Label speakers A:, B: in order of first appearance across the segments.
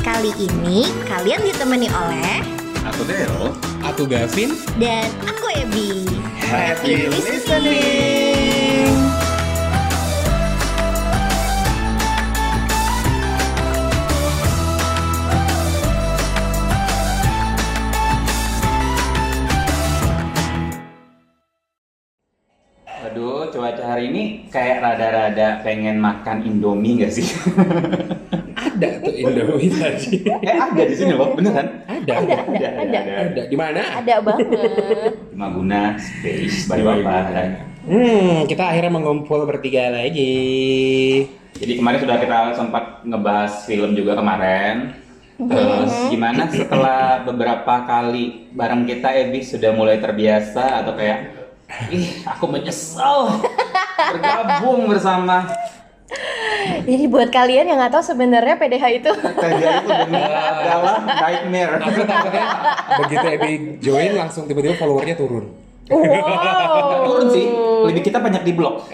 A: Kali ini kalian ditemani oleh
B: Aku Deo.
C: Aku Gavin.
A: dan aku Ebi.
B: Happy listening. Aduh, cuaca hari ini kayak rada-rada pengen makan Indomie gak sih?
C: Ada tuh Indomie tadi.
B: eh ada di sini loh, beneran?
C: Ada.
D: Ada, ada, ada.
C: Ada. Di mana?
D: Ada banget.
B: Maguna Space by
C: Di
B: Bapak.
C: Hmm, kita akhirnya mengumpul bertiga lagi.
B: Jadi kemarin sudah kita sempat ngebahas film juga kemarin. Terus
D: Mhm.
B: gimana setelah beberapa kali bareng kita Ebi sudah mulai terbiasa atau kayak ih aku menyesal bergabung bersama
D: Jadi buat kalian yang nggak tahu sebenarnya PDH itu
B: kerja itu benar adalah nightmare.
C: Aku takutnya begitu Ebi join langsung tiba-tiba followernya turun.
B: Nggak
D: wow.
B: Turun sih,
D: Oh.
B: lebih kita banyak di blok.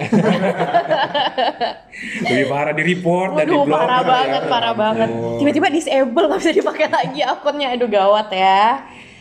C: Lebih parah di report dan di
D: Waduh,
C: blog. Iya,
D: parah banget, parah banget. Tiba-tiba disable nggak bisa dipakai lagi akunnya. Aduh gawat ya.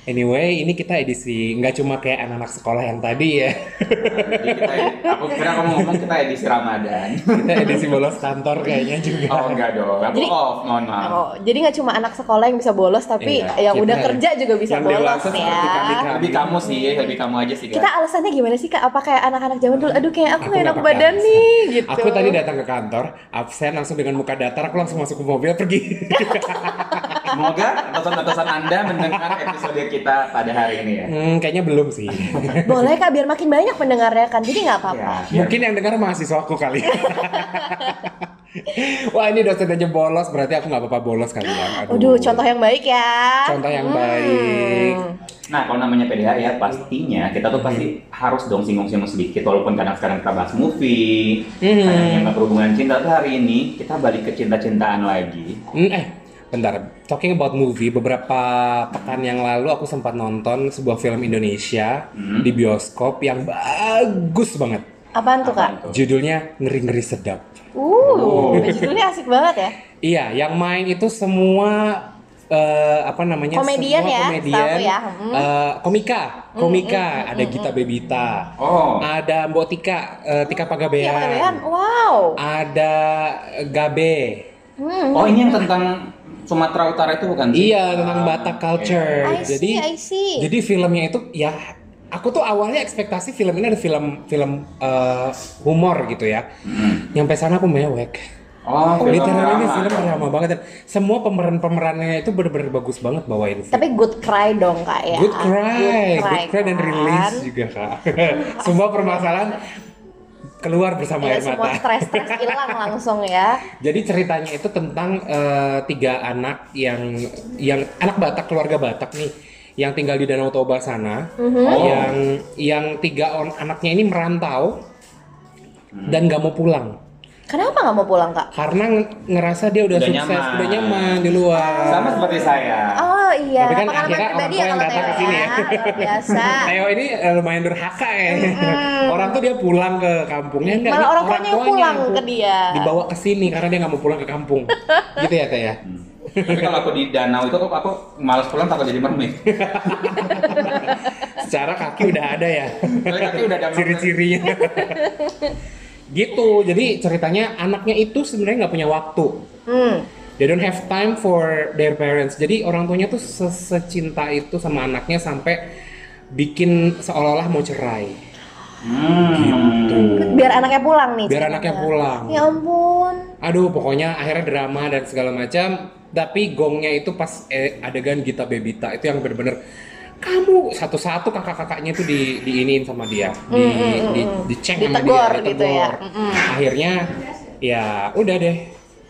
C: Anyway, ini kita edisi nggak cuma kayak anak-anak sekolah yang tadi ya.
B: Jadi kita, aku kira kamu ngomong kita edisi Ramadan.
C: Kita edisi bolos kantor kayaknya juga.
B: Oh enggak dong, aku
D: Jadi-
B: off, mohon maaf.
D: Oh, jadi nggak cuma anak sekolah yang bisa bolos, tapi
C: Iya,
D: yang udah
C: kita-
D: kerja juga bisa
C: yang
D: bolos
C: dewasa seperti kan? Iya.
D: ya.
C: kami-kami.
B: Lebih kamu sih, lebih kamu aja sih.
D: Kita alasannya gimana sih kak? Apa kayak anak-anak zaman dulu? Aduh kayak
C: Aku
D: aku, nggak
C: nggak
D: enak
C: pakai
D: badan
C: alasan.
D: nih gitu.
C: Aku tadi datang ke kantor, absen langsung dengan muka datar, aku langsung masuk ke mobil pergi.
B: Semoga atasan-atasan Anda mendengar episode kita pada hari ini ya.
C: Hmm, kayaknya belum sih.
D: Boleh kak, biar makin banyak pendengarnya kan. Jadi nggak apa-apa.
B: Ya,
C: Mungkin yang dengar mahasiswa aku kali. Wah ini dosen aja bolos, berarti aku nggak apa-apa bolos kali ya.
D: Aduh, contoh yang baik ya.
C: Contoh yang baik.
B: Nah, kalau namanya PDH ya pastinya kita tuh pasti
C: Mm-hmm.
B: harus dong singgung-singgung sedikit walaupun kadang sekarang kita bahas movie,
C: Hmm.
B: kadang yang berhubungan cinta tapi hari ini kita balik ke cinta-cintaan lagi.
C: Hmm, eh, bentar. Talking about movie, beberapa pekan yang lalu aku sempat nonton sebuah film Indonesia
B: Hmm.
C: di bioskop yang bagus banget.
D: Apaan tuh kak?
B: Apaan tuh?
C: Judulnya ngeri-ngeri sedap.
D: Uh, judulnya asik banget ya.
C: Iya, yang main itu semua eh, apa namanya?
D: Komedian
C: semua
D: ya,
C: komedian.
D: setahu ya. Hmm.
C: eh, komika, komika, ada Gita Bebita,
B: Oh,
C: ada Mbok Tika, eh, Tika Pagabean,
D: Iya, Bean. Wow.
C: ada Gabe.
D: Hmm.
B: oh ini yang tentang Sumatera Utara itu bukan? sih?
C: Iya, tentang
B: Ah,
C: Batak
B: oke.
C: culture.
D: I see,
C: jadi
D: I see.
C: jadi filmnya itu ya aku tuh awalnya ekspektasi film ini ada film film eh, humor gitu ya.
B: Hmm.
C: Nyampe sana aku mewek.
B: Oh, film
C: Literally
B: drama.
C: film drama banget dan semua pemeran-pemerannya itu bener-bener bagus banget bawain film.
D: Tapi good cry dong kak ya.
C: Good cry,
D: Good
C: good cry dan
D: kan.
C: release juga kak. semua permasalahan keluar bersama
D: Iya,
C: air
D: semua
C: mata.
D: stres-stres hilang langsung ya.
C: Jadi ceritanya itu tentang eh, tiga anak yang yang anak Batak keluarga Batak nih yang tinggal di Danau Toba sana,
D: Hmm.
B: Oh.
C: yang yang tiga on, anaknya ini merantau
B: Hmm.
C: dan gak mau pulang
D: Kenapa nggak mau pulang kak?
C: karena ng- ngerasa dia udah,
B: Udah
C: sukses,
B: nyaman.
C: udah nyaman di luar.
B: Sama seperti saya.
D: Oh iya,
C: Tapi kan
D: pengalaman
C: akhirnya orang tua
D: pribadi ya
C: yang
D: kalau
C: datang
D: Teo
C: ke sini
D: ya.
C: ya.
D: Luar Biasa.
C: Theo ini eh, lumayan durhaka ya. Orang tuh dia pulang ke kampungnya enggak
D: Malah
C: ini
D: orang tuanya yang pulang
C: pu-
D: ke dia.
C: Dibawa ke sini karena dia nggak mau pulang ke kampung. gitu ya Teh ya.
B: Tapi kalau aku di danau itu aku, aku malas pulang takut jadi mermaid.
C: Secara kaki udah ada ya.
B: Soalnya kaki udah ada
C: Ciri-cirinya. gitu. Jadi ceritanya anaknya itu sebenarnya nggak punya waktu.
D: Hmm.
C: They don't have time for their parents. Jadi orang tuanya tuh se- secinta itu sama anaknya sampai bikin seolah-olah mau cerai.
B: Hmm.
D: Biar anaknya pulang nih.
C: Biar
D: ceritanya.
C: anaknya pulang.
D: Ya ampun.
C: Aduh, pokoknya akhirnya drama dan segala macam. Tapi gongnya itu pas eh, adegan Gita Bebita itu yang bener-bener kamu satu-satu kakak-kakaknya itu di diinin sama dia,
D: Mm,
C: di di, diceng sama dia,
D: Ditegor gitu ya. Mm-mm.
C: Akhirnya ya udah deh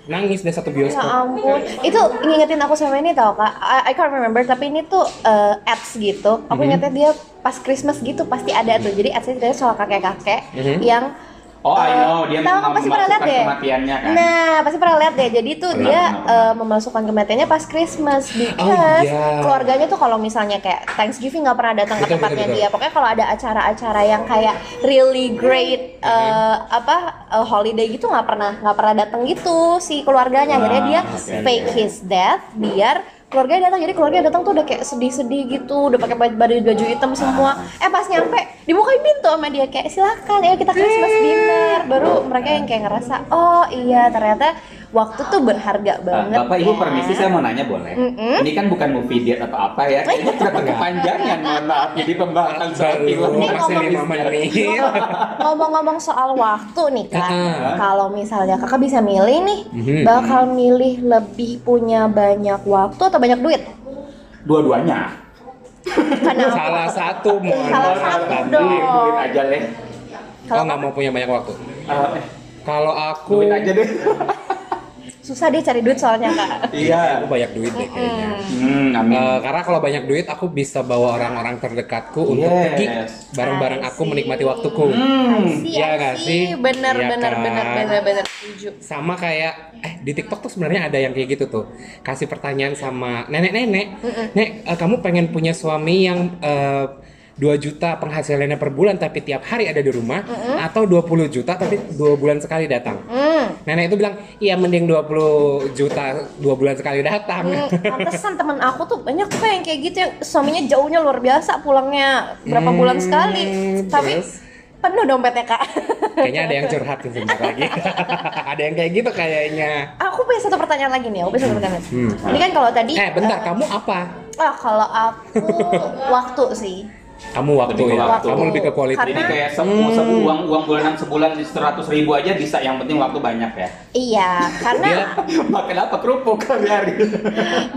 C: nangis deh satu
D: Ya
C: bioskop.
D: ampun, itu ngingetin aku sama ini tau kak. I, I can't remember tapi ini tuh eh, ads gitu.
C: Mhm.
D: Aku ingetnya dia pas Christmas gitu pasti ada tuh. Jadi adsnya ceritanya soal kakek-kakek
C: Mhm.
D: yang
B: Oh, I
D: Eh,
B: know. Dia
D: tahu
B: memang
D: kan pasti pernah lihat
B: memasukkan
D: deh.
B: kematiannya kan.
D: Nah, pasti pernah lihat deh. Jadi tuh
B: Pernah,
D: dia
B: pernah, pernah.
D: eh, memasukkan kematiannya pas Christmas
C: Oh,
D: because
C: iya.
D: keluarganya tuh kalau misalnya kayak Thanksgiving nggak pernah datang ke
C: Betul,
D: tempatnya
C: betul,
D: dia. Pokoknya kalau ada acara-acara yang kayak really great eh, apa eh, holiday gitu nggak pernah nggak pernah datang gitu si keluarganya. Akhirnya
B: Ah,
D: dia
B: oke,
D: fake
B: oke.
D: his death biar keluarganya datang. Jadi keluarganya datang tuh udah kayak sedih-sedih gitu, udah pakai baju baju hitam semua. Eh pas nyampe dibukain pintu sama dia kayak silakan ya kita Christmas dinner. Baru mereka yang kayak ngerasa oh iya ternyata waktu tuh
B: Eh,
D: berharga banget.
B: Bapak Ibu
D: ya."
B: permisi saya mau nanya boleh.
D: Mm-mm.
B: Ini kan bukan movie date atau apa ya. Ini kenapa kepanjangan mohon maaf. Jadi pembahasan soal film.
C: Baru masih lima menit.
D: Ngomong-ngomong soal waktu nih kak,
C: Ah.
D: kalau misalnya kakak bisa milih nih,
C: Mhm.
D: bakal milih lebih punya banyak waktu atau banyak duit?
B: Dua-duanya.
D: Kenapa?
C: Salah satu mohon
D: Salah
C: maaf,
D: satu
C: Bang.
D: dong.
B: Duit, duit aja leh.
C: Oh
D: Kalau
C: nggak mau punya banyak waktu.
B: Eh, eh,
C: Kalau aku,
B: duit aja deh.
D: susah dia cari duit soalnya kak.
B: Iya.
C: aku banyak duit deh kayaknya.
B: Hmm, amin.
C: Eh, karena kalau banyak duit aku bisa bawa orang-orang terdekatku untuk
B: Yes.
C: pergi bareng-bareng aku menikmati waktuku.
B: Hmm.
D: Sih,
C: Iya nggak sih?
D: Bener,
C: Iya
D: bener,
C: kan?
D: bener, bener, bener, setuju.
C: Sama kayak eh di TikTok tuh sebenarnya ada yang kayak gitu tuh. Kasih pertanyaan sama nenek-nenek. Nek, eh, kamu pengen punya suami yang eh, 2 juta penghasilannya per bulan tapi tiap hari ada di rumah atau 20 juta tapi dua bulan sekali datang.
D: Hmm,
C: Nenek itu bilang, "Iya mending 20 juta dua bulan sekali datang."
D: hmm, pantesan temen aku tuh banyak tuh yang kayak gitu yang suaminya jauhnya luar biasa, pulangnya berapa
C: Hmm,
D: bulan sekali, tapi
C: terus?
D: penuh dompetnya kak.
C: Kayaknya ada yang curhat nih sebentar lagi. ada yang kayak gitu kayaknya.
D: aku punya satu pertanyaan lagi nih, aku punya satu pertanyaan.
C: Hmm.
D: Ini kan kalau tadi,
C: Eh, bentar,
D: eh,
C: kamu apa?
D: ah, kalau aku waktu sih,
C: Kamu waktu
B: Lebih ke
C: ya.
B: waktu.
C: Kamu lebih ke quality.
B: Jadi
D: Karena-
B: kayak semua sebu uang uang bulanan sebulan di seratus ribu aja bisa. Yang penting waktu banyak ya.
D: iya,
C: Dia
D: karena
B: Makan apa kerupuk kali hari?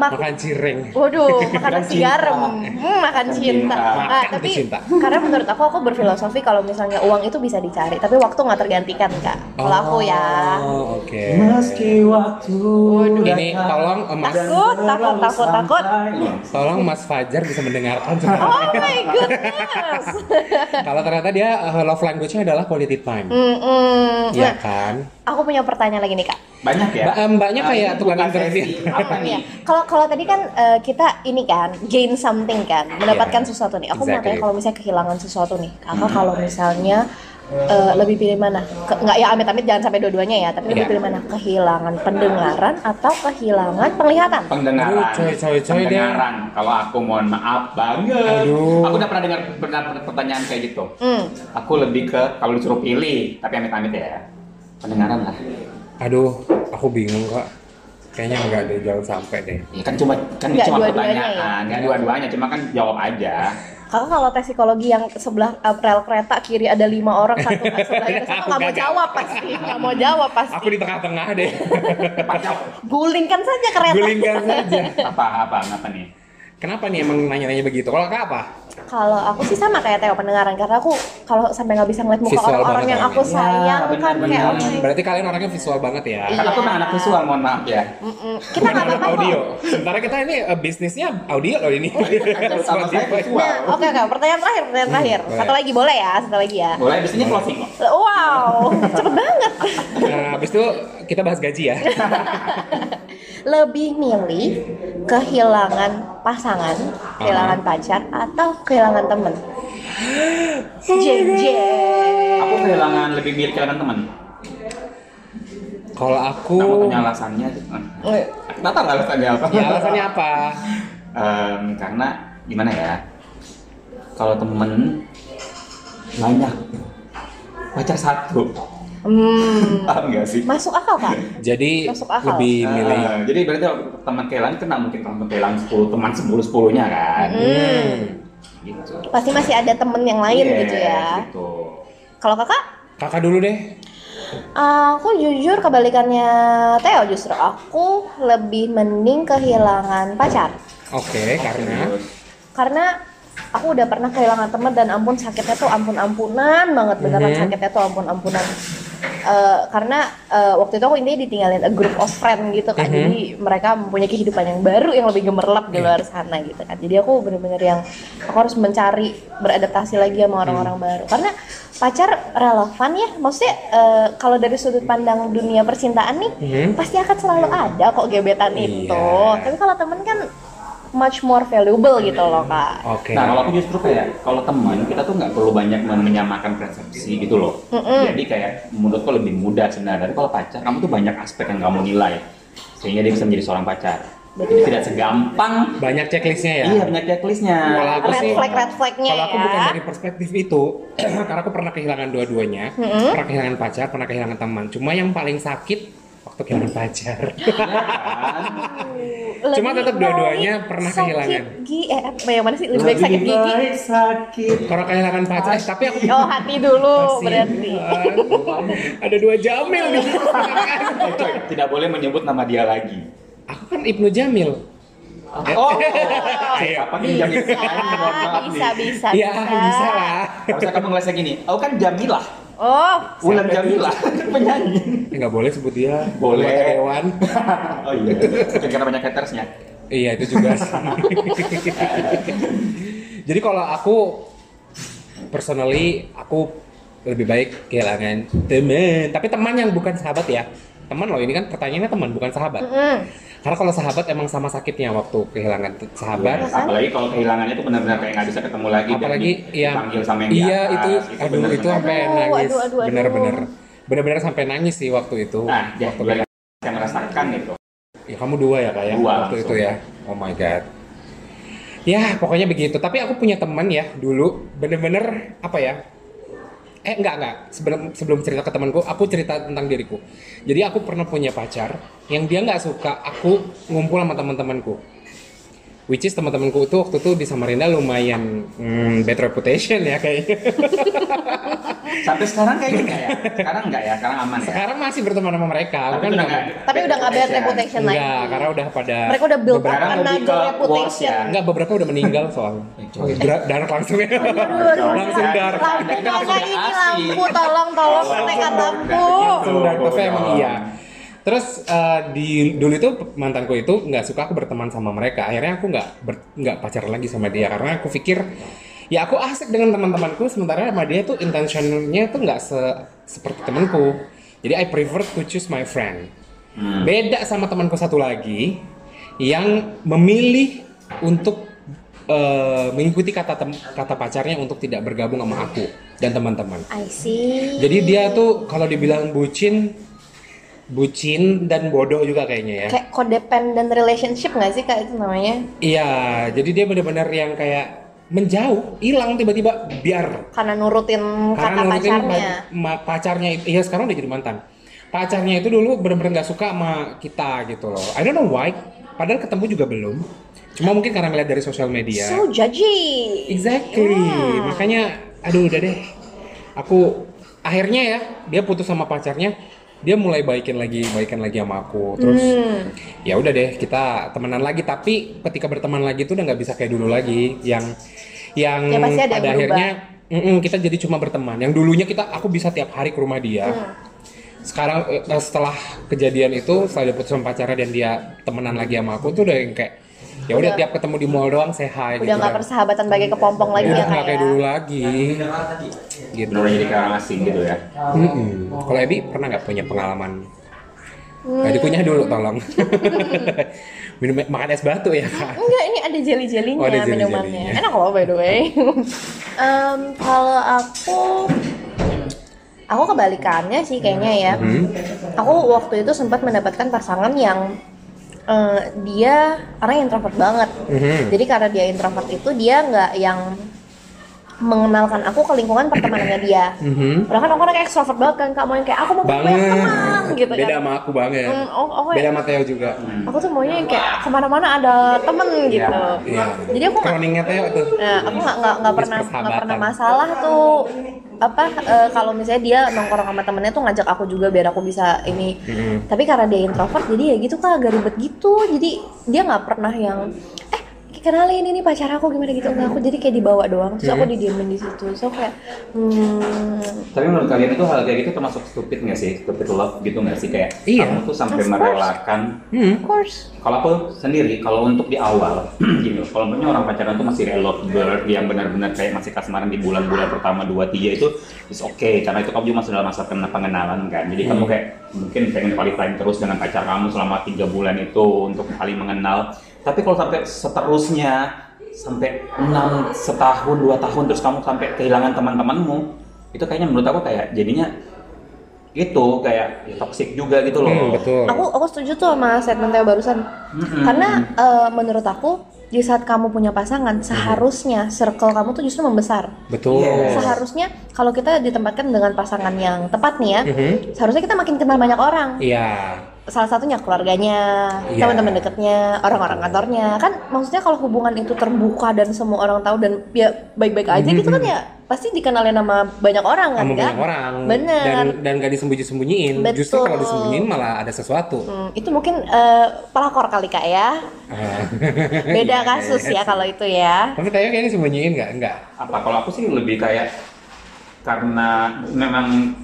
D: mak-
C: makan cireng.
D: Waduh, makan
B: Makan
D: nasi
B: cinta.
D: garam, Hmm, makan cinta.
B: cinta.
D: Ah,
C: Makan
D: tapi
C: cinta.
D: karena menurut aku aku berfilosofi kalau misalnya uang itu bisa dicari, tapi waktu nggak tergantikan kak. Kalau aku ya.
C: Oh, oke.
B: Meski waktu
C: Ini tolong emas,
D: Takut, takut, takut, takut.
B: Iya.
C: tolong Mas Fajar bisa mendengarkan.
D: Oh my goodness.
C: Kalau ternyata dia eh, love language-nya adalah quality time.
D: Mm-mm.
C: Iya
D: Nah,
C: kan?
D: aku punya pertanyaan lagi nih kak.
B: Banyak ya.
C: Mbak- mbaknya kayak
B: ini
C: tukang
B: bukan
C: interview.
B: sesi. Apa
D: Iya.
B: nih?
D: Kalau kalau tadi kan eh, kita ini kan gain something kan, mendapatkan sesuatu nih. Aku mau
C: Iya. exactly.
D: tanya kalau misalnya kehilangan sesuatu nih, kakak kalau misalnya eh, lebih pilih mana? Ke- Nggak ya amit-amit jangan sampai dua-duanya ya, tapi lebih
C: Iya.
D: pilih mana? Kehilangan pendengaran atau kehilangan penglihatan?
B: Pendengaran.
C: Aduh, coy, coy, coy,
B: Pendengaran. Kalau aku mohon maaf banget.
C: Aduh.
B: Aku udah pernah dengar pernah pernah pertanyaan kayak gitu.
D: Hmm.
B: Aku lebih ke kalau disuruh pilih, tapi amit-amit ya. Pendengaran lah.
C: Aduh, aku bingung kak. Kayaknya enggak deh, jangan sampai deh.
B: Ya kan cuma kan
D: Nggak
B: cuma
D: dua-duanya ya?
B: pertanyaan, Ah, nggak dua-duanya, cuma kan jawab aja.
D: Kakak kalau tes psikologi yang sebelah eh, rel kereta kiri ada lima orang satu sebelah itu satu nggak mau
C: Gagal.
D: jawab pasti, nggak mau jawab
C: Aku
D: pasti.
C: di tengah-tengah deh.
B: Pacau.
D: Gulingkan saja kereta.
C: Gulingkan saja.
B: apa apa apa nih?
C: Kenapa nih emang nanya-nanya begitu? Kalau kak apa?
D: Kalau aku sih sama kayak Teo pendengaran karena aku kalau sampai nggak bisa ngeliat muka
C: Visual
D: orang-orang
C: banget
D: yang
C: orangnya.
D: aku sayang
B: Ya,
D: kan
B: benar,
D: kayak
B: benar.
D: oh my
C: Berarti kalian orangnya visual banget ya.
D: Iya.
B: Karena aku memang anak visual, mohon maaf ya.
D: Mm-mm. Kita nggak
C: Anak
D: apa-apa kok.
C: audio. Sementara kita ini eh, bisnisnya audio loh ini.
D: Iya,
B: Sama saya gitu.
C: Spotify.
B: visual.
D: Nah, oke oke. Pertanyaan terakhir, pertanyaan terakhir.
C: boleh.
D: Satu lagi boleh ya, satu lagi ya.
B: Mulai abis ini closing kok.
D: Wow, cepet banget.
C: Nah, habis itu kita bahas gaji ya.
D: Lebih milih kehilangan pasangan, kehilangan pacar, atau kehilangan temen? JJ.
B: Aku kehilangan lebih biar kehilangan teman.
C: Kalau aku,
B: Kamu tanya alasannya.
D: Eh,
B: Nggak tahu alasannya apa.
C: ya alasannya apa?
B: Em, karena gimana ya? Kalau temen banyak, pacar satu,
D: Hmm.
B: paham nggak sih?
D: Masuk akal kak?
C: Jadi
D: Masuk akal.
C: lebih milih.
B: Eh, jadi berarti kalau teman kehilangan kan nggak mungkin teman kehilangan 10 teman 10 10-nya kan.
C: Hmm.
B: Gitu.
D: Pasti masih ada temen yang lain
B: Yes,
D: gitu ya.
B: Gitu.
D: Kalau kakak?
C: Kakak dulu deh.
D: Aku jujur kebalikannya Theo justru aku lebih mending kehilangan pacar
C: Oke, karena
B: Terus,
D: karena aku udah pernah kehilangan teman dan ampun sakitnya tuh ampun ampunan banget beneran
C: Mhm.
D: sakitnya tuh ampun ampunan eh, karena eh, waktu itu aku intinya ditinggalin a group of friend gitu kan
C: Mhm. Iya.
D: jadi mereka mempunyai kehidupan yang baru yang lebih gemerlap di luar sana gitu kan jadi aku bener-bener yang aku harus mencari beradaptasi lagi
C: Mhm.
D: sama orang-orang baru karena pacar relevan ya maksudnya eh, kalau dari sudut pandang dunia percintaan nih
C: Mhm.
D: pasti akan selalu ada kok gebetan
C: Iya.
D: itu tapi kalau temen kan much more valuable gitu loh kak
C: Oke.
B: Nah, kalau aku justru kayak kalau teman kita tuh nggak perlu banyak men- menyamakan persepsi gitu loh. Jadi kayak menurutku lebih mudah sebenarnya. Tapi kalau pacar, kamu tuh banyak aspek yang kamu nilai sehingga dia bisa menjadi seorang pacar. Jadi tidak segampang.
C: banyak checklistnya ya.
B: Iya, banyak checklistnya. Iya
C: Kalau aku
D: red
C: sih-
D: flag red flagnya
C: Kalau aku
D: ya
C: bukan dari perspektif itu, karena aku pernah kehilangan dua-duanya, pernah kehilangan pacar, pernah kehilangan teman. Cuma yang paling sakit waktu kehilangan pacar.
B: Kan?
D: Lebih
C: Cuma tetap dua-duanya
D: baik
C: pernah
D: sakit
C: kehilangan.
D: Gigi eh apa yang mana sih lebih baik sakit gigi?
B: baik sakit.
C: Kalau kehilangan pacar, eh, tapi aku
D: Oh hati dulu
C: Kasihan.
D: berarti.
C: ada dua Jamil di situ.
B: Eh, coy, tidak boleh menyebut nama dia lagi.
C: Aku kan Ibnu Jamil.
B: Oh, apa nih jam
D: Bisa, Ah, bisa, bisa,
C: Ya,
D: kan?
C: bisa lah.
B: Harusnya kamu ngelesnya gini. Aku kan Jamilah.
D: Oh,
B: Ulan Jamilah, penyanyi.
C: Enggak Ya, boleh sebut dia.
B: Boleh.
C: Buat Dewan.
B: Oh iya. Mungkin karena banyak hatersnya.
C: Iya itu juga sih. Jadi kalau aku personally aku lebih baik kehilangan teman, tapi teman yang bukan sahabat ya. Teman loh ini kan pertanyaannya teman bukan sahabat.
D: mm,
C: Karena kalau sahabat emang sama sakitnya waktu kehilangan t- sahabat.
B: Yes, apalagi kalau kehilangannya tuh benar-benar kayak nggak bisa ketemu lagi dan
C: Apalagi
B: di-
C: ya
B: dipanggil sama yang di
C: iya
B: atas, gitu,
C: itu, aduh
B: benar-benar.
C: itu sampai
D: Aduh,
C: nangis
D: aduh, aduh, aduh.
C: bener-bener bener-bener sampai nangis sih waktu itu
B: nah ya,
C: waktu
B: biar saya merasakan gitu
C: Ya kamu dua ya kayak
B: Dua
C: waktu
B: langsung.
C: itu ya. Oh my god. Ya pokoknya begitu. Tapi aku punya teman ya dulu bener-bener apa ya? Eh enggak enggak. Sebelum sebelum cerita ke temanku, aku cerita tentang diriku. Jadi aku pernah punya pacar yang dia nggak suka aku ngumpul sama teman-temanku. Which is teman-temanku itu waktu itu di Samarinda lumayan hmm, bad reputation ya kayaknya.
B: sampai sekarang kayaknya enggak ya sekarang enggak ya sekarang aman ya
C: Sekarang masih berteman sama mereka. Aku
B: udah
C: nggak-
B: nggak-
D: tapi udah nggak bad reputation lagi.
C: Enggak, karena udah pada
D: Mereka udah build up
B: Sekarang lebih
D: another
B: ke worst
D: reputation.
B: ya.
C: Enggak, beberapa udah meninggal soalnya.
B: coy.
C: Dra- Dark langsung ya. langsung dark.
D: Lampu
B: Kan
D: nggak
B: langsung
D: ini
B: asik.
D: lampu, tolong tolong
B: Langsung
D: menekan
B: dark,
D: lampu.
B: gitu.
C: Langsung dark tapi
B: Bodoh.
C: emang iya. Terus eh, di dulu itu mantanku itu nggak suka aku berteman sama mereka. Akhirnya aku nggak ber- nggak pacaran lagi sama dia karena aku pikir ya aku asik dengan teman-temanku sementara sama dia tuh intentionnya tuh nggak se- seperti temanku. Jadi I prefer to choose my friend.
B: Hmm.
C: Beda sama temanku satu lagi yang memilih untuk eh, mengikuti kata tem- kata pacarnya untuk tidak bergabung sama aku dan teman-teman.
D: I see.
C: Jadi dia tuh kalau dibilang bucin, bucin dan bodoh juga kayaknya ya.
D: kayak codependent relationship nggak sih kak itu namanya?
C: Iya, jadi dia benar-benar yang kayak menjauh, hilang tiba-tiba, biar
D: Karena nurutin kata
C: karena nurutin kan? pa-
D: pacarnya.
C: ma- pacarnya itu, iya sekarang udah jadi mantan. Pacarnya itu dulu benar-benar nggak suka sama kita gitu loh. I don't know why. Padahal ketemu juga belum. Cuma mungkin karena ngeliat dari sosial media.
D: So judgy.
C: Iya, Exactly.
D: Hmm.
C: Makanya aduh udah deh. Aku akhirnya ya dia putus sama pacarnya, dia mulai baikin lagi, baikin lagi sama aku. Terus
D: Hmm.
C: ya udah deh kita temenan lagi tapi ketika berteman lagi tuh udah nggak bisa kayak dulu lagi yang yang
D: Ya, pasti
C: pada
D: ada yang berubah.
C: akhirnya mm-mm, kita jadi cuma berteman. Yang dulunya kita aku bisa tiap hari ke rumah dia.
D: Hmm.
C: Sekarang eh, setelah kejadian itu, setelah dia putus sama pacarnya dan dia temenan lagi sama aku tuh udah yang kayak ya udah tiap ketemu di mall doang saya hi
D: Udah
C: gitu
D: nggak
C: kan.
D: persahabatan bagai kepompong lagi
C: Udah
D: ya,
C: nggak
D: kak
C: kayak
D: ya?
C: Iya, dulu lagi. Gitu.
B: benar jadi kayak orang asing gitu ya
C: Mm-mm. Kalau Ebi pernah nggak punya pengalaman?
D: Hmm,
C: Nggak dipunya dulu tolong. Minum makan es batu ya kak.
D: Enggak, ini ada jelly-jellinya
C: Oh, ada jelly-jellinya.
D: minumannya. Enak loh by the way. Em, kalau aku aku kebalikannya sih kayaknya ya.
C: Hmm.
D: Aku waktu itu sempat mendapatkan pasangan yang eh, dia orang introvert banget.
C: Mhm.
D: Jadi karena dia introvert itu dia nggak yang mengenalkan aku ke lingkungan pertemanannya dia.
C: Mhm.
D: Padahal kan aku orang kayak extrovert banget kan, Kak, mau yang kayak aku mau punya banyak teman
C: Banget.
D: gitu
C: Beda
D: kan.
C: sama aku banget.
D: Hmm, oh, oh,
C: Beda sama Theo juga.
D: aku tuh maunya yang kayak kemana-mana ada temen gitu.
C: Iya.
D: Jadi aku nggak-
C: Kroningnya Theo tuh.
D: Nah, aku nggak nggak nggak pernah
C: Persahabatan.
D: nggak pernah masalah tuh apa eh, kalau misalnya dia nongkrong sama temennya tuh ngajak aku juga biar aku bisa ini.
C: Mhm.
D: Tapi karena dia introvert jadi ya gitu kak agak ribet gitu. Jadi dia nggak pernah yang eh kenalin ini pacar aku gimana gitu enggak aku jadi kayak dibawa doang terus aku didiemin di situ so kayak hmm,
B: Tapi menurut kalian itu hal kayak gitu termasuk stupid nggak sih? Stupid love gitu nggak sih kayak
C: Iya.
B: kamu tuh sampai
D: Of course.
B: merelakan
C: Hmm.
D: of course
B: kalau aku sendiri kalau untuk di awal gitu kalau punya orang pacaran tuh masih reload bird yang benar-benar kayak masih kasmaran di bulan-bulan pertama 2-3 itu is oke karena itu kamu juga masih dalam masa pen- pengenalan kan jadi kamu kayak mungkin pengen qualifying terus dengan pacar kamu selama tiga bulan itu untuk saling mengenal tapi kalau sampai seterusnya sampai enam setahun dua tahun terus kamu sampai kehilangan teman-temanmu itu kayaknya menurut aku kayak jadinya itu kayak ya, toxic juga gitu loh
C: Hmm, betul.
D: aku aku setuju tuh sama statementnya barusan
B: Mm-mm.
D: karena eh, menurut aku di saat kamu punya pasangan seharusnya circle kamu tuh justru membesar
C: Betul.
B: Yes.
D: Iya, seharusnya kalau kita ditempatkan dengan pasangan yang tepat nih ya
C: Mhm.
D: seharusnya kita makin kenal banyak orang
C: Iya.
D: salah satunya keluarganya,
C: Iya.
D: teman-teman dekatnya, orang-orang kantornya. Kan maksudnya kalau hubungan itu terbuka dan semua orang tahu dan ya baik-baik aja gitu kan ya pasti dikenalin sama banyak orang kan
C: Kamu
D: Kak?
C: Mhm. banyak orang.
D: Bener.
C: Dan dan gak disembunyi-sembunyiin. Justru
D: Betul.
C: kalau disembunyiin malah ada sesuatu.
D: Hmm, itu mungkin eh, pelakor kali Kak ya.
C: Ah.
D: Beda kasus
C: Iya.
D: ya kalau itu ya.
C: Tapi Tayo kayaknya disembunyiin nggak? Enggak.
B: apa kalau aku sih lebih kayak karena memang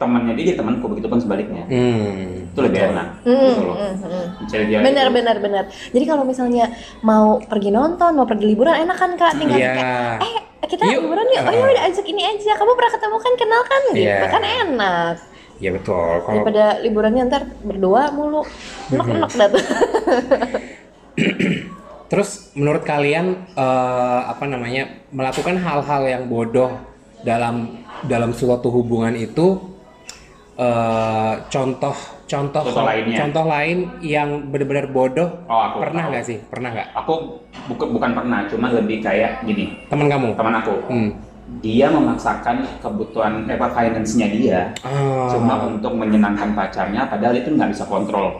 B: temannya dia, dia temanku begitu pun sebaliknya
C: Hmm.
B: itu lebih enak gitu loh
D: Hmm, hmm.
B: Mencari dia
D: Benar
B: itu.
D: benar benar. Jadi kalau misalnya mau pergi nonton, mau pergi liburan enak kan Kak tinggal
C: Iya.
D: kayak, eh kita
C: Yuk.
D: liburan yuk. Oh ya udah ajak ini aja. Kamu pernah ketemu kan kenal kan gitu.
C: Iya.
D: Kan enak.
C: Ya betul. Kalau Iya.
D: daripada liburannya ntar berdua mulu enak-enak dah tuh
C: Terus menurut kalian eh, apa namanya melakukan hal-hal yang bodoh dalam dalam suatu hubungan itu eh, contoh contoh
B: Contoh lainnya.
C: contoh lain yang benar-benar bodoh
B: Oh, aku
C: pernah
B: tahu.
C: nggak sih pernah nggak
B: aku bukan bukan pernah cuman lebih kayak gini
C: teman kamu?
B: teman aku
C: Hmm.
B: dia memaksakan kebutuhan eh, apa finance-nya dia
C: Ah.
B: cuma untuk menyenangkan pacarnya padahal itu nggak bisa kontrol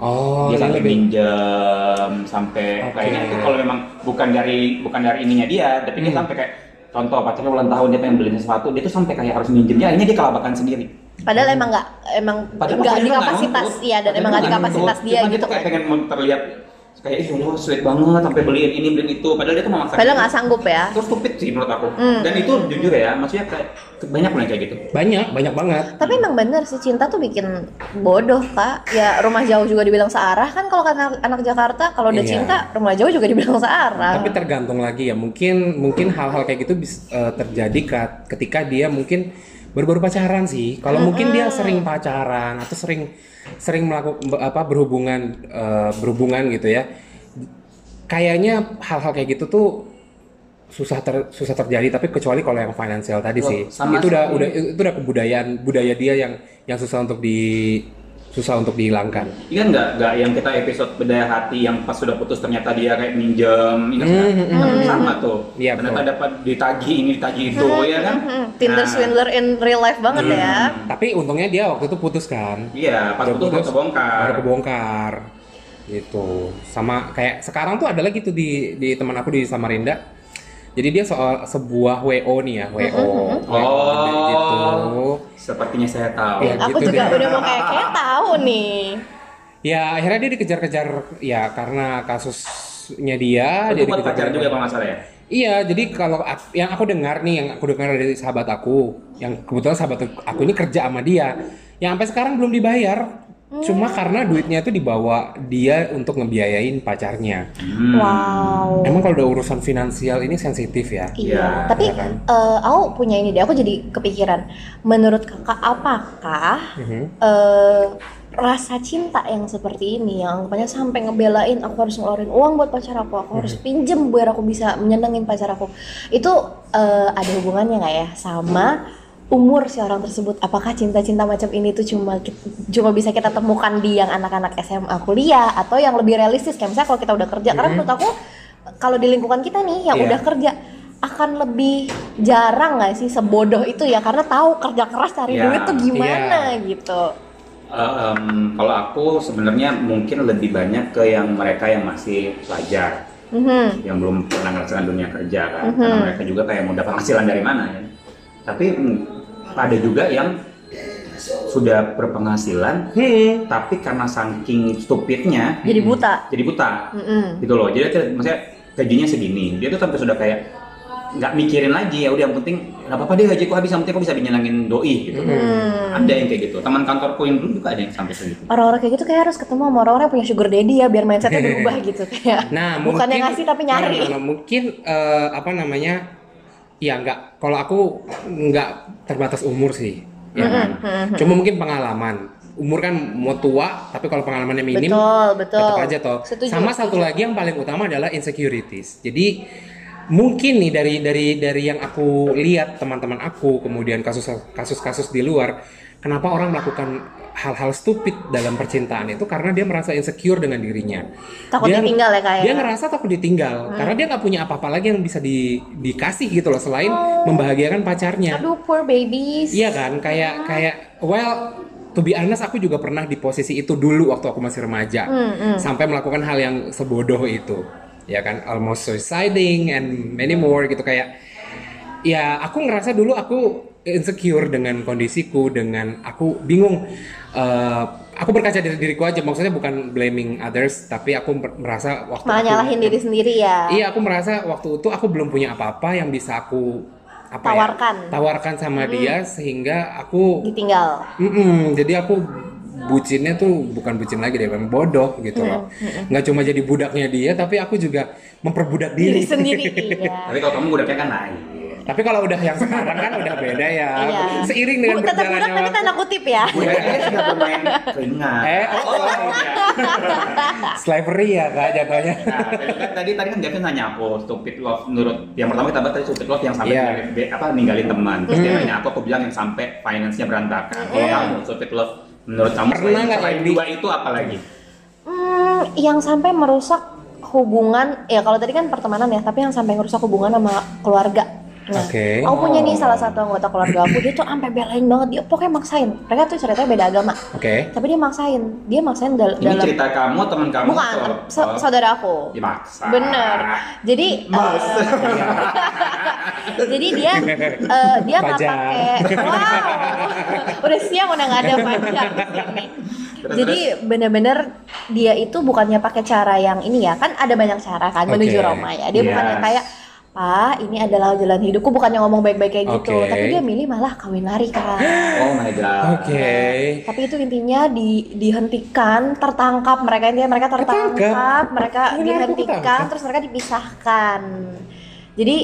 C: oh
B: dia
C: ini
B: sampai
C: lebih
B: minjem sampai
C: Oke.
B: kayaknya itu kalau memang bukan dari bukan dari ininya dia tapi dia
C: Hmm.
B: sampai kayak contoh pacarnya ulang tahun dia pengen beliin sesuatu dia tuh sampai kayak harus minjemnya akhirnya dia kelabakan sendiri
D: padahal emang nggak emang
B: Padahal
D: nggak
B: pacarnya
D: di
B: tuh nggak
D: kapasitas
B: nuntut.
D: iya dan
B: Pacarnya
D: emang nggak di
B: nggak
D: kapasitas
B: nuntut.
D: dia
B: Cuma
D: gitu
B: tuh kayak pengen mau terlihat kayak ih ya Allah sweet banget sampai beliin ini beliin itu padahal dia tuh memaksa
D: padahal nggak sanggup ya
B: itu stupid sih menurut aku
D: Hmm.
B: dan itu jujur ya maksudnya kayak banyak loh yang kayak gitu
C: banyak banyak banget.
D: tapi emang bener sih cinta tuh bikin bodoh kak ya rumah jauh juga dibilang searah kan kalau anak, anak Jakarta kalau udah
C: Iya.
D: cinta rumah jauh juga dibilang searah
C: Tapi tergantung lagi ya. Mungkin mungkin hal-hal kayak gitu bis- eh, terjadi ka- ketika dia mungkin baru-baru pacaran sih. Kalau mungkin dia sering pacaran atau sering sering melakukan apa berhubungan eh, berhubungan gitu ya. Kayaknya hal-hal kayak gitu tuh susah ter- susah terjadi tapi kecuali kalau yang finansial tadi
B: Loh,
C: sih.
B: sama
C: itu udah
B: sekali.
C: udah itu udah kebudayaan budaya dia yang yang susah untuk di susah untuk dihilangkan.
B: Iya nggak nggak yang kita episode bedah hati yang pas sudah putus ternyata dia kayak minjem ingat nggak? Kan sama tuh
C: Hmm, Iya,
B: ternyata
C: betul.
B: dapat ditagi ini ditagi itu ya kan
D: Hmm, Tinder
B: Nah,
D: swindler in real life banget ya
C: Tapi untungnya dia waktu itu putus kan.
B: iya pas
C: Udah
B: putus baru
C: putus,
B: kebongkar
C: baru kebongkar gitu sama kayak sekarang tuh ada lagi tuh di di teman aku di Samarinda jadi dia soal sebuah wo nih ya wo
B: Oh.
C: gitu
B: sepertinya saya tahu
C: Iya.
D: aku
C: gitu
D: juga
C: deh.
D: udah mau kayak kayak tahu nih
C: ya akhirnya dia dikejar-kejar ya karena kasusnya dia
B: itu
C: dia
B: buat pacar
C: dikejar-kejar.
B: juga kalau nggak salah ya
C: Iya, jadi kalau ak- yang aku dengar nih, yang aku dengar dari sahabat aku, yang kebetulan sahabat aku ini kerja sama dia, yang sampai sekarang belum dibayar, cuma karena duitnya itu dibawa dia untuk ngebiayain pacarnya.
B: Hmm.
D: wow
C: Emang kalau udah urusan finansial ini sensitif ya?
D: Iya,
B: Iya,
C: ya
D: tapi
C: kan?
D: eh, aku punya ini deh, aku jadi kepikiran. Menurut kakak, apakah
C: Mhm.
D: eh, rasa cinta yang seperti ini, yang anggapannya sampai ngebelain aku harus ngeluarin uang buat pacar aku, aku harus pinjem biar aku bisa menyenangin pacar aku, itu eh, ada hubungannya nggak ya sama umur si orang tersebut? Apakah cinta-cinta macam ini tuh cuma ki- cuma bisa kita temukan di yang anak-anak SMA kuliah atau yang lebih realistis? Kayak misalnya kalau kita udah kerja, karena menurut aku kalau di lingkungan kita nih yang
C: Iya.
D: udah kerja akan lebih jarang nggak sih sebodoh itu ya karena tahu kerja keras cari
B: Iya.
D: duit tuh gimana
C: Iya.
D: gitu.
B: Uh, um, kalau aku sebenarnya mungkin lebih banyak ke yang mereka yang masih pelajar
D: Mhm.
B: yang belum pernah ngerasakan dunia kerja kan
D: Mhm.
B: karena mereka juga kayak mau dapat penghasilan dari mana ya tapi mm, ada juga hmm, yang sudah berpenghasilan
C: Hmm.
B: tapi karena saking stupidnya hmm,
D: Jadi buta. Mhm.
B: jadi buta
D: Mm-mm.
B: gitu loh jadi akhirnya- maksudnya gajinya segini dia tuh sampai sudah kayak nggak mikirin lagi ya udah yang penting nggak apa-apa deh gajiku habis yang penting aku bisa nyenangin doi gitu
D: Mhm.
B: ada yang kayak gitu teman kantorku yang dulu juga ada yang sampai segitu
D: Orang-orang kayak gitu kayak harus ketemu sama orang-orang yang punya sugar daddy ya biar mindsetnya berubah gitu kayak.
C: Nah, mungkin
D: bukannya ngasih tapi nyari.
C: No, no, no, no. Mungkin eh, apa namanya? Ya nggak. Kalau aku nggak terbatas umur sih. Ya
D: Mhm.
C: kan? Cuma mungkin pengalaman. Umur kan mau tua, tapi kalau pengalamannya minim,
D: Betul, betul.
C: nah, tetap aja toh.
D: Setuju,
C: Sama
D: setuju.
C: satu lagi yang paling utama adalah insecurities. Jadi mungkin nih dari dari dari yang aku lihat teman-teman aku, kemudian kasus kasus-kasus di luar, kenapa orang melakukan hal-hal stupid dalam percintaan itu karena dia merasa insecure dengan dirinya.
D: Takut ditinggal ya, Hmm. Kak, ya?
C: Dia ngerasa takut ditinggal karena dia nggak punya apa-apa lagi yang bisa di, dikasih gitu loh selain
D: Oh.
C: membahagiakan pacarnya.
D: Aduh poor babies.
C: Iya kan, kayak
D: Ah.
C: kayak well to be honest aku juga pernah di posisi itu dulu waktu aku masih remaja.
D: Hmm,
C: Sampai melakukan hal yang sebodoh itu. Ya kan, almost suiciding and many more gitu kayak ya aku ngerasa dulu aku insecure dengan kondisiku dengan aku bingung Eh, aku berkaca dari diriku aja maksudnya bukan blaming others tapi aku mer- merasa waktu
D: Malah
C: aku-
D: nyalahin diri sendiri ya.
C: Iya, aku merasa waktu itu aku belum punya apa-apa yang bisa aku apa ya,
D: Tawarkan. Hmm.
C: tawarkan sama dia sehingga aku
D: Ditinggal.
C: Mm-mm, jadi aku bucinnya tuh bukan bucin lagi deh, memang bodoh gitu
D: Hmm,
C: loh. Nggak cuma jadi budaknya dia, tapi aku juga memperbudak diri.
D: Diri sendiri. Iya.
B: tapi kalau kamu udah kayak kan naik
C: tapi kalau udah yang sekarang kan udah beda ya.
D: Iya.
C: Seiring dengan
D: Bu, tetap budak
C: berjalannya
D: tapi
C: waktu.
D: tanda kutip ya.
B: udah kayak sudah bermain keringat
C: Eh, oh, iya. slavery ya kak jatuhnya.
B: Nah, tadi kan- tadi tadi kan Gavin nanya aku stupid love menurut yang pertama kita bahas tadi stupid love yang sampai
C: Iya.
B: ninggalin- be- apa ninggalin teman. Terus dia
D: Hmm.
B: nanya aku aku bilang yang sampai finance-nya berantakan. Kalau kamu stupid love menurut kamu
C: Pernah
B: selain,
C: nggak,
B: selain
C: Andy?
B: dua itu apa lagi?
D: Hmm, yang sampai merusak hubungan ya kalau tadi kan pertemanan ya, tapi yang sampai merusak hubungan sama keluarga. Nah,
C: Oke.
D: aku punya nih
B: Oh.
D: salah satu anggota keluarga aku, dia tuh sampai belain banget, dia pokoknya maksain. Mereka tuh ceritanya beda agama,
C: Oke.
D: tapi dia maksain. Dia maksain dal-
B: Ini
D: dalam
B: cerita kamu, teman kamu
D: bukan
B: atau-
D: sa-
B: oh,
D: saudara aku.
B: Dimaksa.
D: Bener. Jadi
B: Mas.
D: eh, jadi dia eh, dia nggak
C: Pajak.
D: pakai. Wow. Udah siang udah nggak ada pajak di sini.
B: Terus,
D: Jadi bener-bener dia itu bukannya pakai cara yang ini ya kan ada banyak cara kan menuju
C: Oke.
D: Roma ya. Dia
B: Yes.
D: bukannya kayak Pak, ini adalah jalan hidupku bukannya ngomong baik-baik kayak gitu,
C: Oke.
D: tapi dia milih malah kawin lari kan.
B: oh my god.
C: Oke.
D: Tapi itu intinya di, dihentikan, tertangkap mereka intinya mereka tertangkap,
C: Ketangkap.
D: mereka
C: Benar,
D: dihentikan,
C: ketangkap.
D: terus mereka dipisahkan. Jadi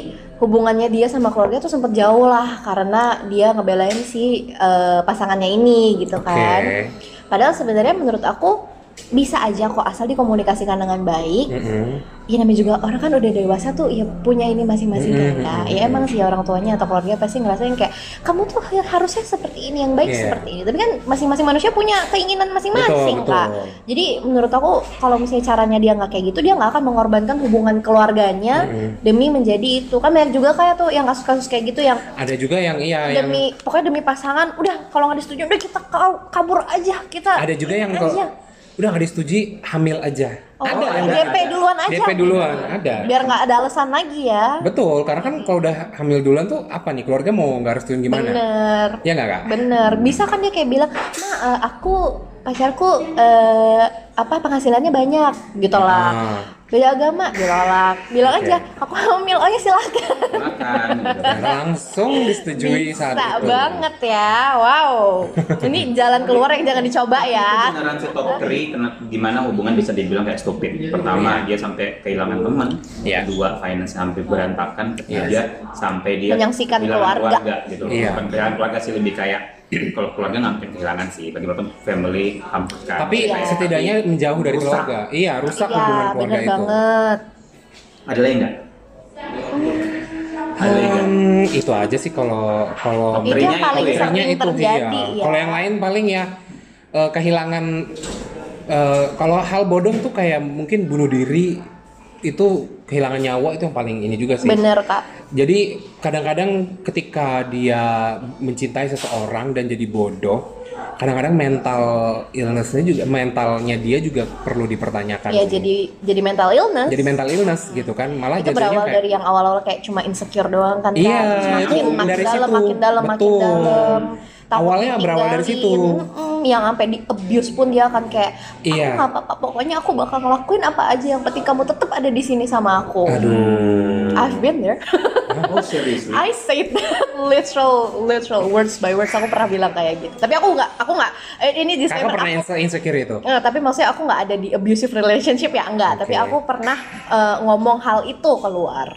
D: hubungannya dia sama keluarga tuh sempet jauh lah karena dia ngebelain si eh, pasangannya ini gitu
C: Oke.
D: kan. Padahal sebenarnya menurut aku bisa aja kok asal dikomunikasikan dengan baik.
C: Mm-mm.
D: Ya namanya juga orang kan udah dewasa tuh ya punya ini masing-masing kan
C: Mm-mm.
D: Kak. Ya emang sih orang tuanya atau keluarga pasti ngerasain kayak kamu tuh har- harusnya seperti ini yang baik
C: Iya.
D: seperti ini. Tapi kan masing-masing manusia punya keinginan masing-masing
C: Betul,
D: Kak.
C: betul.
D: Jadi menurut aku kalau misalnya caranya dia nggak kayak gitu dia nggak akan mengorbankan hubungan keluarganya
C: Mm-mm.
D: demi menjadi itu. Kan banyak juga kayak tuh yang kasus-kasus kayak gitu yang
C: Ada juga yang iya yang
D: demi pokoknya demi pasangan udah kalau nggak disetujui udah kita kau- kabur aja kita Iya,
C: ada juga yang
D: ini aja.
C: kalau udah nggak disetujui hamil aja
D: Oh,
C: ada yang nggak-
D: DP duluan aja. Iya.
C: DP duluan ada
D: biar nggak ada alasan lagi ya
C: betul karena kan kalau udah hamil duluan tuh apa nih keluarga mau nggak restuin gimana
D: bener
C: ya nggak kak
D: bener bisa kan dia kayak bilang ma eh, aku pacarku eh, apa penghasilannya banyak gitu lah
C: Ah.
D: beda agama dilolak bilang
C: Oke.
D: aja aku hamil oh ya
B: Makan.
D: silakan
B: gitu.
C: Nah, langsung disetujui
D: bisa
C: saat itu
D: banget ya wow ini jalan keluar yang jangan dicoba ya
B: Beneran si Top Kri, kena- gimana hubungan bisa dibilang kayak stupid?
D: Iya.
B: Pertama dia sampai kehilangan teman,
C: Iya.
B: kedua finance hampir berantakan, ketiga sampai dia
D: Menyaksikan
B: kehilangan
D: Iya. keluarga.
B: gitu. loh.
C: Iya.
B: Bukan kehilangan keluarga sih lebih kayak kalau keluarga nggak mungkin kehilangan sih, bagaimanapun family hampir kan.
C: tapi
D: Iya.
C: setidaknya menjauh dari
B: Rusak.
C: keluarga iya rusak hubungan
D: ya
C: keluarga
D: bener
C: itu
D: banget
B: ada lagi nggak? Ada lagi nggak?
C: Hmm, itu aja sih kalau kalau
D: itu
B: Ngerinya
D: yang paling
B: itu ya.
D: sering
C: Akhirnya itu
D: terjadi
C: iya.
D: ya
C: Kalau yang lain paling ya eh, kehilangan eh, kalau hal bodoh tuh kayak mungkin bunuh diri itu kehilangan nyawa itu yang paling ini juga sih.
D: bener kak
C: Jadi kadang-kadang ketika dia mencintai seseorang dan jadi bodoh, kadang-kadang mental illness-nya juga mentalnya dia juga perlu dipertanyakan.
D: ya jadi jadi mental illness
C: Kan Jadi mental illness gitu kan, malah
D: itu
C: jadinya
D: berawal
C: kayak
D: dari yang awal-awal kayak cuma insecure doang kan Kak.
C: Iya,
D: Terus makin
C: itu
D: makin
C: dari
D: dalam
C: situ.
D: makin dalam makin
C: Betul.
D: dalam takut
C: Awalnya berawal dari situ.
D: ditinggalin. Mm-mm, yang sampai di abuse pun dia akan kayak aku
C: Iya.
D: nggak apa-apa pokoknya aku bakal ngelakuin apa aja yang penting kamu tetap ada di sini sama aku
C: Aduh.
D: I've been there Hmm.
B: Oh serius?
D: I said that literal literal words by words aku pernah bilang kayak gitu tapi aku nggak aku nggak eh, ini
C: Kakak
D: disclaimer
C: pernah
D: aku
C: inse- insecure itu?
D: Nggak, tapi maksudnya aku nggak ada di abusive relationship ya enggak, tapi
C: Oke.
D: aku pernah eh, ngomong hal itu keluar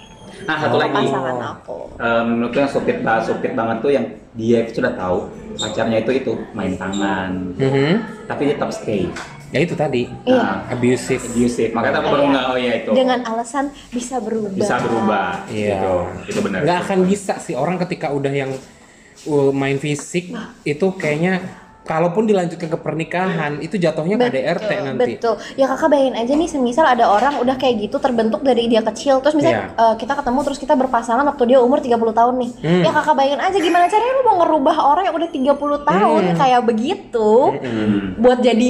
B: Nah
C: Oh.
B: satu
D: ke
B: lagi.
D: pasangan aku.
B: Eh, menurut gue yang sopit banget, sopit banget tuh yang dia itu sudah tahu pacarnya itu itu main tangan,
C: Mhm.
B: tapi dia tetap stay.
C: Ya itu tadi.
D: Iya.
B: Nah,
C: Abusive.
B: abusive. Makanya aku baru nggak oh ya itu
D: Dengan alasan bisa berubah.
B: bisa berubah.
C: Iya.
B: Gitu. Itu benar.
C: Nggak akan bisa sih orang ketika udah yang uh, main fisik itu kayaknya kalaupun dilanjutkan ke pernikahan itu jatuhnya KDRT
D: Betul,
C: nanti.
D: Betul. Ya kakak bayangin aja nih, semisal ada orang udah kayak gitu terbentuk dari dia kecil, terus
C: Iya.
D: misalnya eh, kita ketemu terus kita berpasangan waktu dia umur 30 tahun nih.
C: Hmm.
D: Ya kakak bayangin aja gimana caranya lu mau ngerubah orang yang udah 30 tahun
C: Hmm.
D: kayak begitu
B: Hmm.
D: buat jadi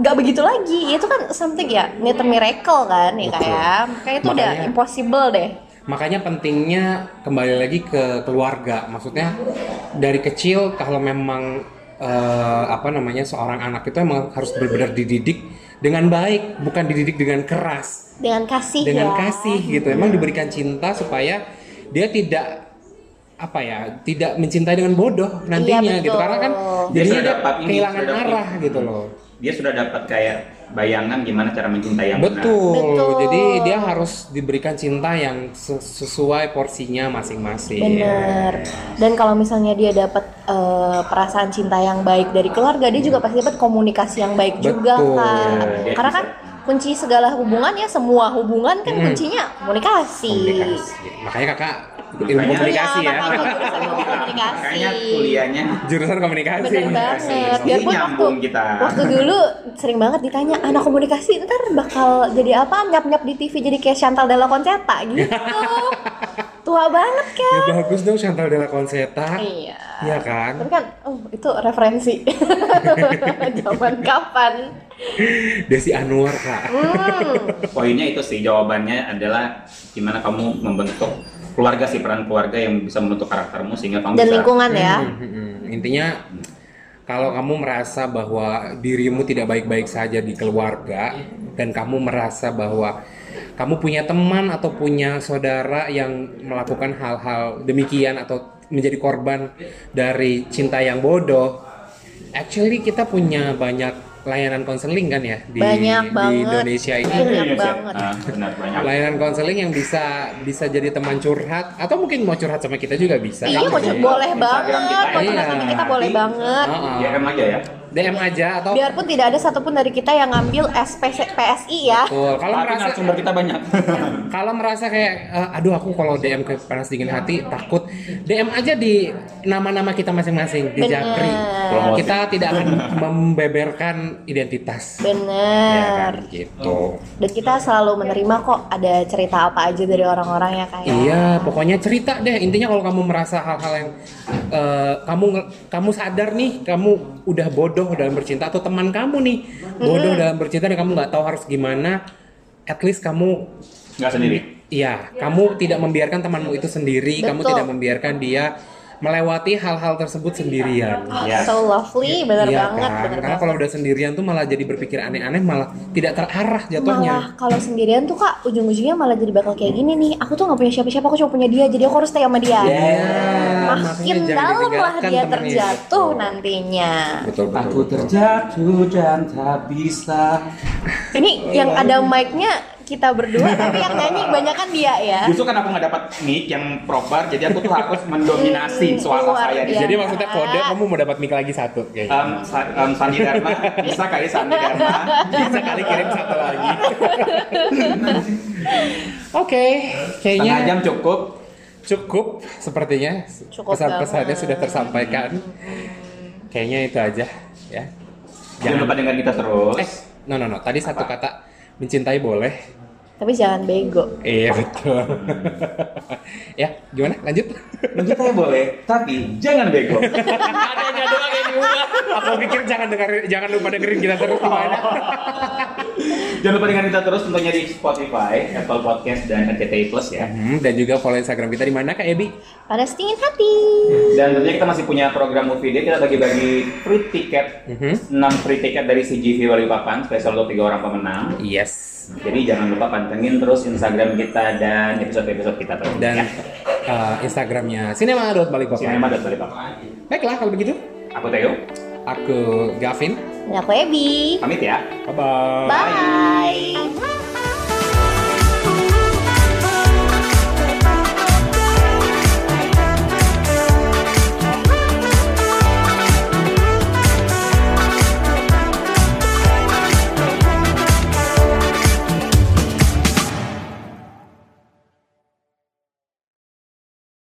D: nggak begitu lagi. Itu kan something ya, need a miracle kan ya
C: Betul.
D: kayak. Kayak itu udah
C: Makanya-
D: impossible deh.
C: Makanya pentingnya kembali lagi ke keluarga. Maksudnya dari kecil kalau memang eh, apa namanya seorang anak itu emang harus benar-benar dididik dengan baik, bukan dididik dengan keras.
D: Dengan kasih
C: dengan
D: ya.
C: kasih gitu.
B: Iya.
C: Emang diberikan cinta supaya dia tidak apa ya, tidak mencintai dengan bodoh nantinya
D: Iya,
C: gitu.
D: betul.
C: Karena kan
D: Dia
C: jadinya
B: sudah
C: dia
B: dapat ini,
C: kehilangan
B: sudah dapat
C: arah
B: ini.
C: gitu loh.
B: Dia sudah dapat kayak bayangan gimana cara mencintai yang Iya, benar.
C: Betul.
D: Betul.
C: Jadi dia harus diberikan cinta yang se- sesuai porsinya masing-masing. Iya.
D: Bener. Dan kalau misalnya dia dapat eh, perasaan cinta yang baik dari keluarga, dia juga pasti dapat komunikasi yang baik juga
C: Betul.
D: kan.
B: Dia
D: Karena
B: bisa-
D: kan kunci segala hubungan ya, semua hubungan kan kuncinya komunikasi.
C: Komunikasi. Makanya kakak ilmu
B: Makanya-
C: komunikasi ya.
D: Iya, makanya jurusan ilmu komunikasi.
B: Makanya kuliahnya
C: Jurusan komunikasi.
D: Bener banget. Biarpun
B: Ini
D: waktu
B: nyambung kita.
D: waktu dulu sering banget ditanya anak komunikasi ntar bakal jadi apa nyap nyap di TV jadi kayak Chantal Della Concetta gitu. Tua banget kan?
C: Ya bagus dong Chantal Della Concetta.
D: Iya.
C: Iya kan?
D: Tapi kan oh, itu referensi zaman kapan?
C: Desi Anwar kak.
D: Hmm,
B: Poinnya itu sih jawabannya adalah gimana kamu membentuk keluarga sih peran keluarga yang bisa membentuk karaktermu sehingga kamu
D: dan
B: bisa
D: lingkungan ya.
C: Mhm. Intinya kalau kamu merasa bahwa dirimu tidak baik-baik saja di keluarga dan kamu merasa bahwa kamu punya teman atau punya saudara yang melakukan hal-hal demikian atau menjadi korban dari cinta yang bodoh, actually kita punya banyak layanan konseling kan ya di, di
D: Banyak banget. Iya.
C: Indonesia ini.
D: Banyak
B: Iya, Cek.
D: banget.
B: Ah, benar banyak.
C: Layanan konseling yang bisa bisa jadi teman curhat atau mungkin mau curhat sama kita juga bisa.
D: Iya,
B: Instagram
D: mau curhat
B: kita.
D: boleh
B: Instagram
D: banget,
B: kita
D: mau
C: ya.
D: curhat sama kita boleh
B: Nanti
D: banget.
C: Heeh.
B: DM aja ya.
C: DM aja atau
D: Biarpun tidak ada satupun dari kita yang ngambil SPC PSI ya.
C: Betul. Kalau
B: Tapi
C: merasa
B: narasumber kita banyak.
C: kalau merasa kayak eh, aduh aku kalau DM ke panas
B: Iya.
C: dingin hati takut DM aja di nama-nama kita masing-masing di
D: Bener.
C: Japri.
B: Promosi.
C: Kita tidak akan membeberkan identitas. Ya kan,
D: Bener.
C: gitu.
D: Dan kita selalu menerima kok ada cerita apa aja dari orang-orang ya kayak.
C: Iya, pokoknya cerita deh. Intinya kalau kamu merasa hal-hal yang eh, kamu nge- kamu sadar nih, kamu udah bodoh dalam bercinta atau teman kamu nih bodoh dalam bercinta dan kamu nggak tahu harus gimana, at least kamu
B: Nggak sendiri.
C: Iya, kamu tidak membiarkan temanmu itu sendiri, kamu
D: Betul.
C: tidak membiarkan dia melewati hal-hal tersebut sendirian.
D: Oh,
B: Yes.
D: So lovely, bener
C: Iya
D: banget,
C: kan?
D: bener
C: Karena
D: banget.
C: kalau udah sendirian tuh malah jadi berpikir aneh-aneh, malah tidak terarah jatuhnya.
D: Malah kalau sendirian tuh kak ujung-ujungnya malah jadi bakal kayak gini nih. Aku tuh nggak punya siapa-siapa, aku cuma punya dia. Jadi aku harus stay sama dia.
C: Iya, makanya
D: Makin
C: jangan
D: dalam lah
C: ditinggalkan
D: dia
C: temennya.
D: terjatuh nantinya.
C: Betul, betul,
B: Aku
C: betul.
B: terjatuh dan tak bisa.
D: Ini
C: Iya.
D: yang ada mic-nya kita berdua, tapi yang nyanyi kebanyakan dia ya.
B: Justru kan aku nggak dapat mic yang proper, jadi aku tuh harus mendominasi
D: Hmm,
B: suara
D: luar
B: saya di
D: biasa.
B: sini.
C: Jadi maksudnya kode kamu mau dapat mic lagi satu
D: Ah.
C: kayaknya.
B: Um, Sa- um, Sandi Dharma bisa kali ya, Sandi Dharma.
C: Bisa kali kirim satu lagi. Oke, kayaknya
B: Setengah jam cukup.
C: cukup sepertinya
D: Cukup
C: pesan-pesannya
D: banget. Hmm.
C: sudah tersampaikan. Kayaknya itu aja ya.
B: Jangan lupa dengar kita terus.
C: Eh, no no no. Tadi satu kata mencintai boleh.
D: Tapi jangan bego.
C: Iya betul. ya, gimana? Lanjut.
B: Mencintai boleh, tapi jangan bego.
C: Oh. Adanya doang yang diubah. Aku pikir jangan dengerin, jangan lupa dengerin kita terus gimana.
B: Jangan lupa dengerin kita terus tentunya di Spotify, Apple Podcast, dan RCTI Plus ya.
C: Hmm, dan juga follow Instagram kita di mana Kak Ebi?
D: Panas dingin hati.
B: Dan tentunya kita masih punya program movie day, kita bagi-bagi free tiket,
C: Mhm.
B: 6 free tiket dari CGV Balikpapan, spesial untuk 3 orang pemenang.
C: Yes.
B: Jadi jangan lupa pantengin terus Instagram kita dan episode-episode kita terus. Ya,
C: Dan eh, Instagramnya cinema.balikpapan.
B: Sinema dan Balikpapan.
C: Baiklah kalau begitu,
B: Aku Teo,
C: aku Gavin.
D: Dan aku Ebi.
B: pamit ya.
C: Bye bye.
D: Bye.